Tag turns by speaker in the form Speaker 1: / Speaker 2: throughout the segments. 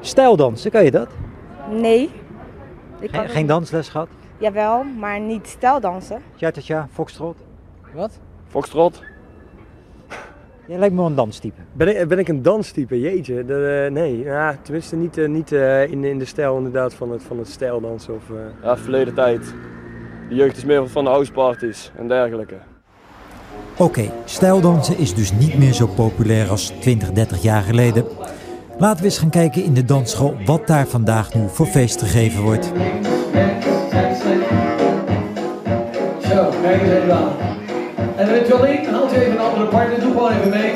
Speaker 1: Stijldansen, kan je dat?
Speaker 2: Nee. Ik
Speaker 1: Geen,
Speaker 2: kan-
Speaker 1: geen dansles gehad?
Speaker 2: Jawel, maar niet stijldansen.
Speaker 1: Tja, tja, tja, foxtrot.
Speaker 3: Wat?
Speaker 4: Foxtrot?
Speaker 1: Jij lijkt me wel een danstype.
Speaker 3: Ben ik, ben ik een danstype? Jeetje. Dat, eh, nee, ja, tenminste niet, eh, niet eh, in, in de stijl inderdaad van het, van het stijldansen. Of, eh,
Speaker 4: Ja, verleden tijd. De jeugd is meer van de houseparties en dergelijke.
Speaker 5: Oké, stijldansen is dus niet meer zo populair als 20, 30 jaar geleden. Laten we eens gaan kijken in de dansschool wat daar vandaag nu voor feest gegeven wordt.
Speaker 6: Zo, kijk eens even aan. En weet je wel, één, haalt u even een andere partner, doe gewoon even mee.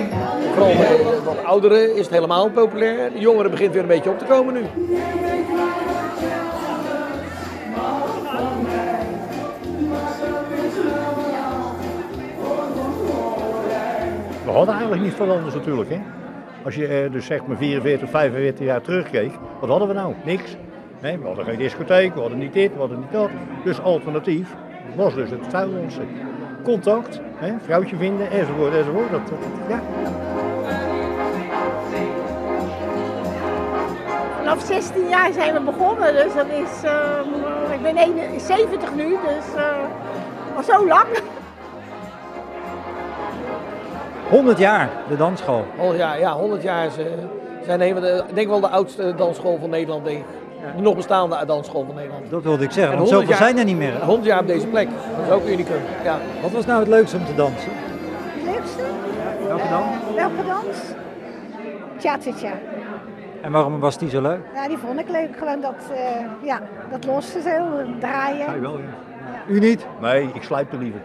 Speaker 7: Vooral bij de wat ouderen is het helemaal populair. De jongeren begint weer een beetje op te komen nu.
Speaker 8: We hadden eigenlijk niet veel anders natuurlijk. Hè? Als je eh, dus zeg maar 44, 45 jaar terugkeek, wat hadden we nou? Niks. Nee, we hadden geen discotheek, we hadden niet dit, we hadden niet dat. Dus alternatief was dus het vuilonsen. Contact, hè? vrouwtje vinden, enzovoort, enzovoort. Dat, dat, ja.
Speaker 9: Vanaf 16 jaar zijn we begonnen, dus dat is. eh, ik ben 71 nu, dus. eh, al zo lang.
Speaker 1: 100 jaar, de dansschool.
Speaker 7: Al ja, ja, 100 jaar is, eh, zijn een van de, ik denk wel de oudste dansschool van Nederland, denk ik. De nog bestaande dansschool van Nederland.
Speaker 1: Dat wilde ik zeggen,
Speaker 7: En
Speaker 1: want
Speaker 7: 100
Speaker 1: zoveel
Speaker 7: jaar-
Speaker 1: zijn er niet meer.
Speaker 7: 100 jaar op deze plek. Dat is ook unicum. Ja.
Speaker 1: Wat was nou het leukste om te dansen?
Speaker 9: Leukste? Eh,
Speaker 1: Welke dan?
Speaker 9: Welke dans? Tja, tja, tja.
Speaker 1: En waarom was die zo leuk?
Speaker 9: Nou, die vond ik leuk. Gewoon dat, eh, ja, dat losse zo, draaien.
Speaker 8: wel, ja.
Speaker 1: U niet?
Speaker 8: Nee, ik slijp er liever.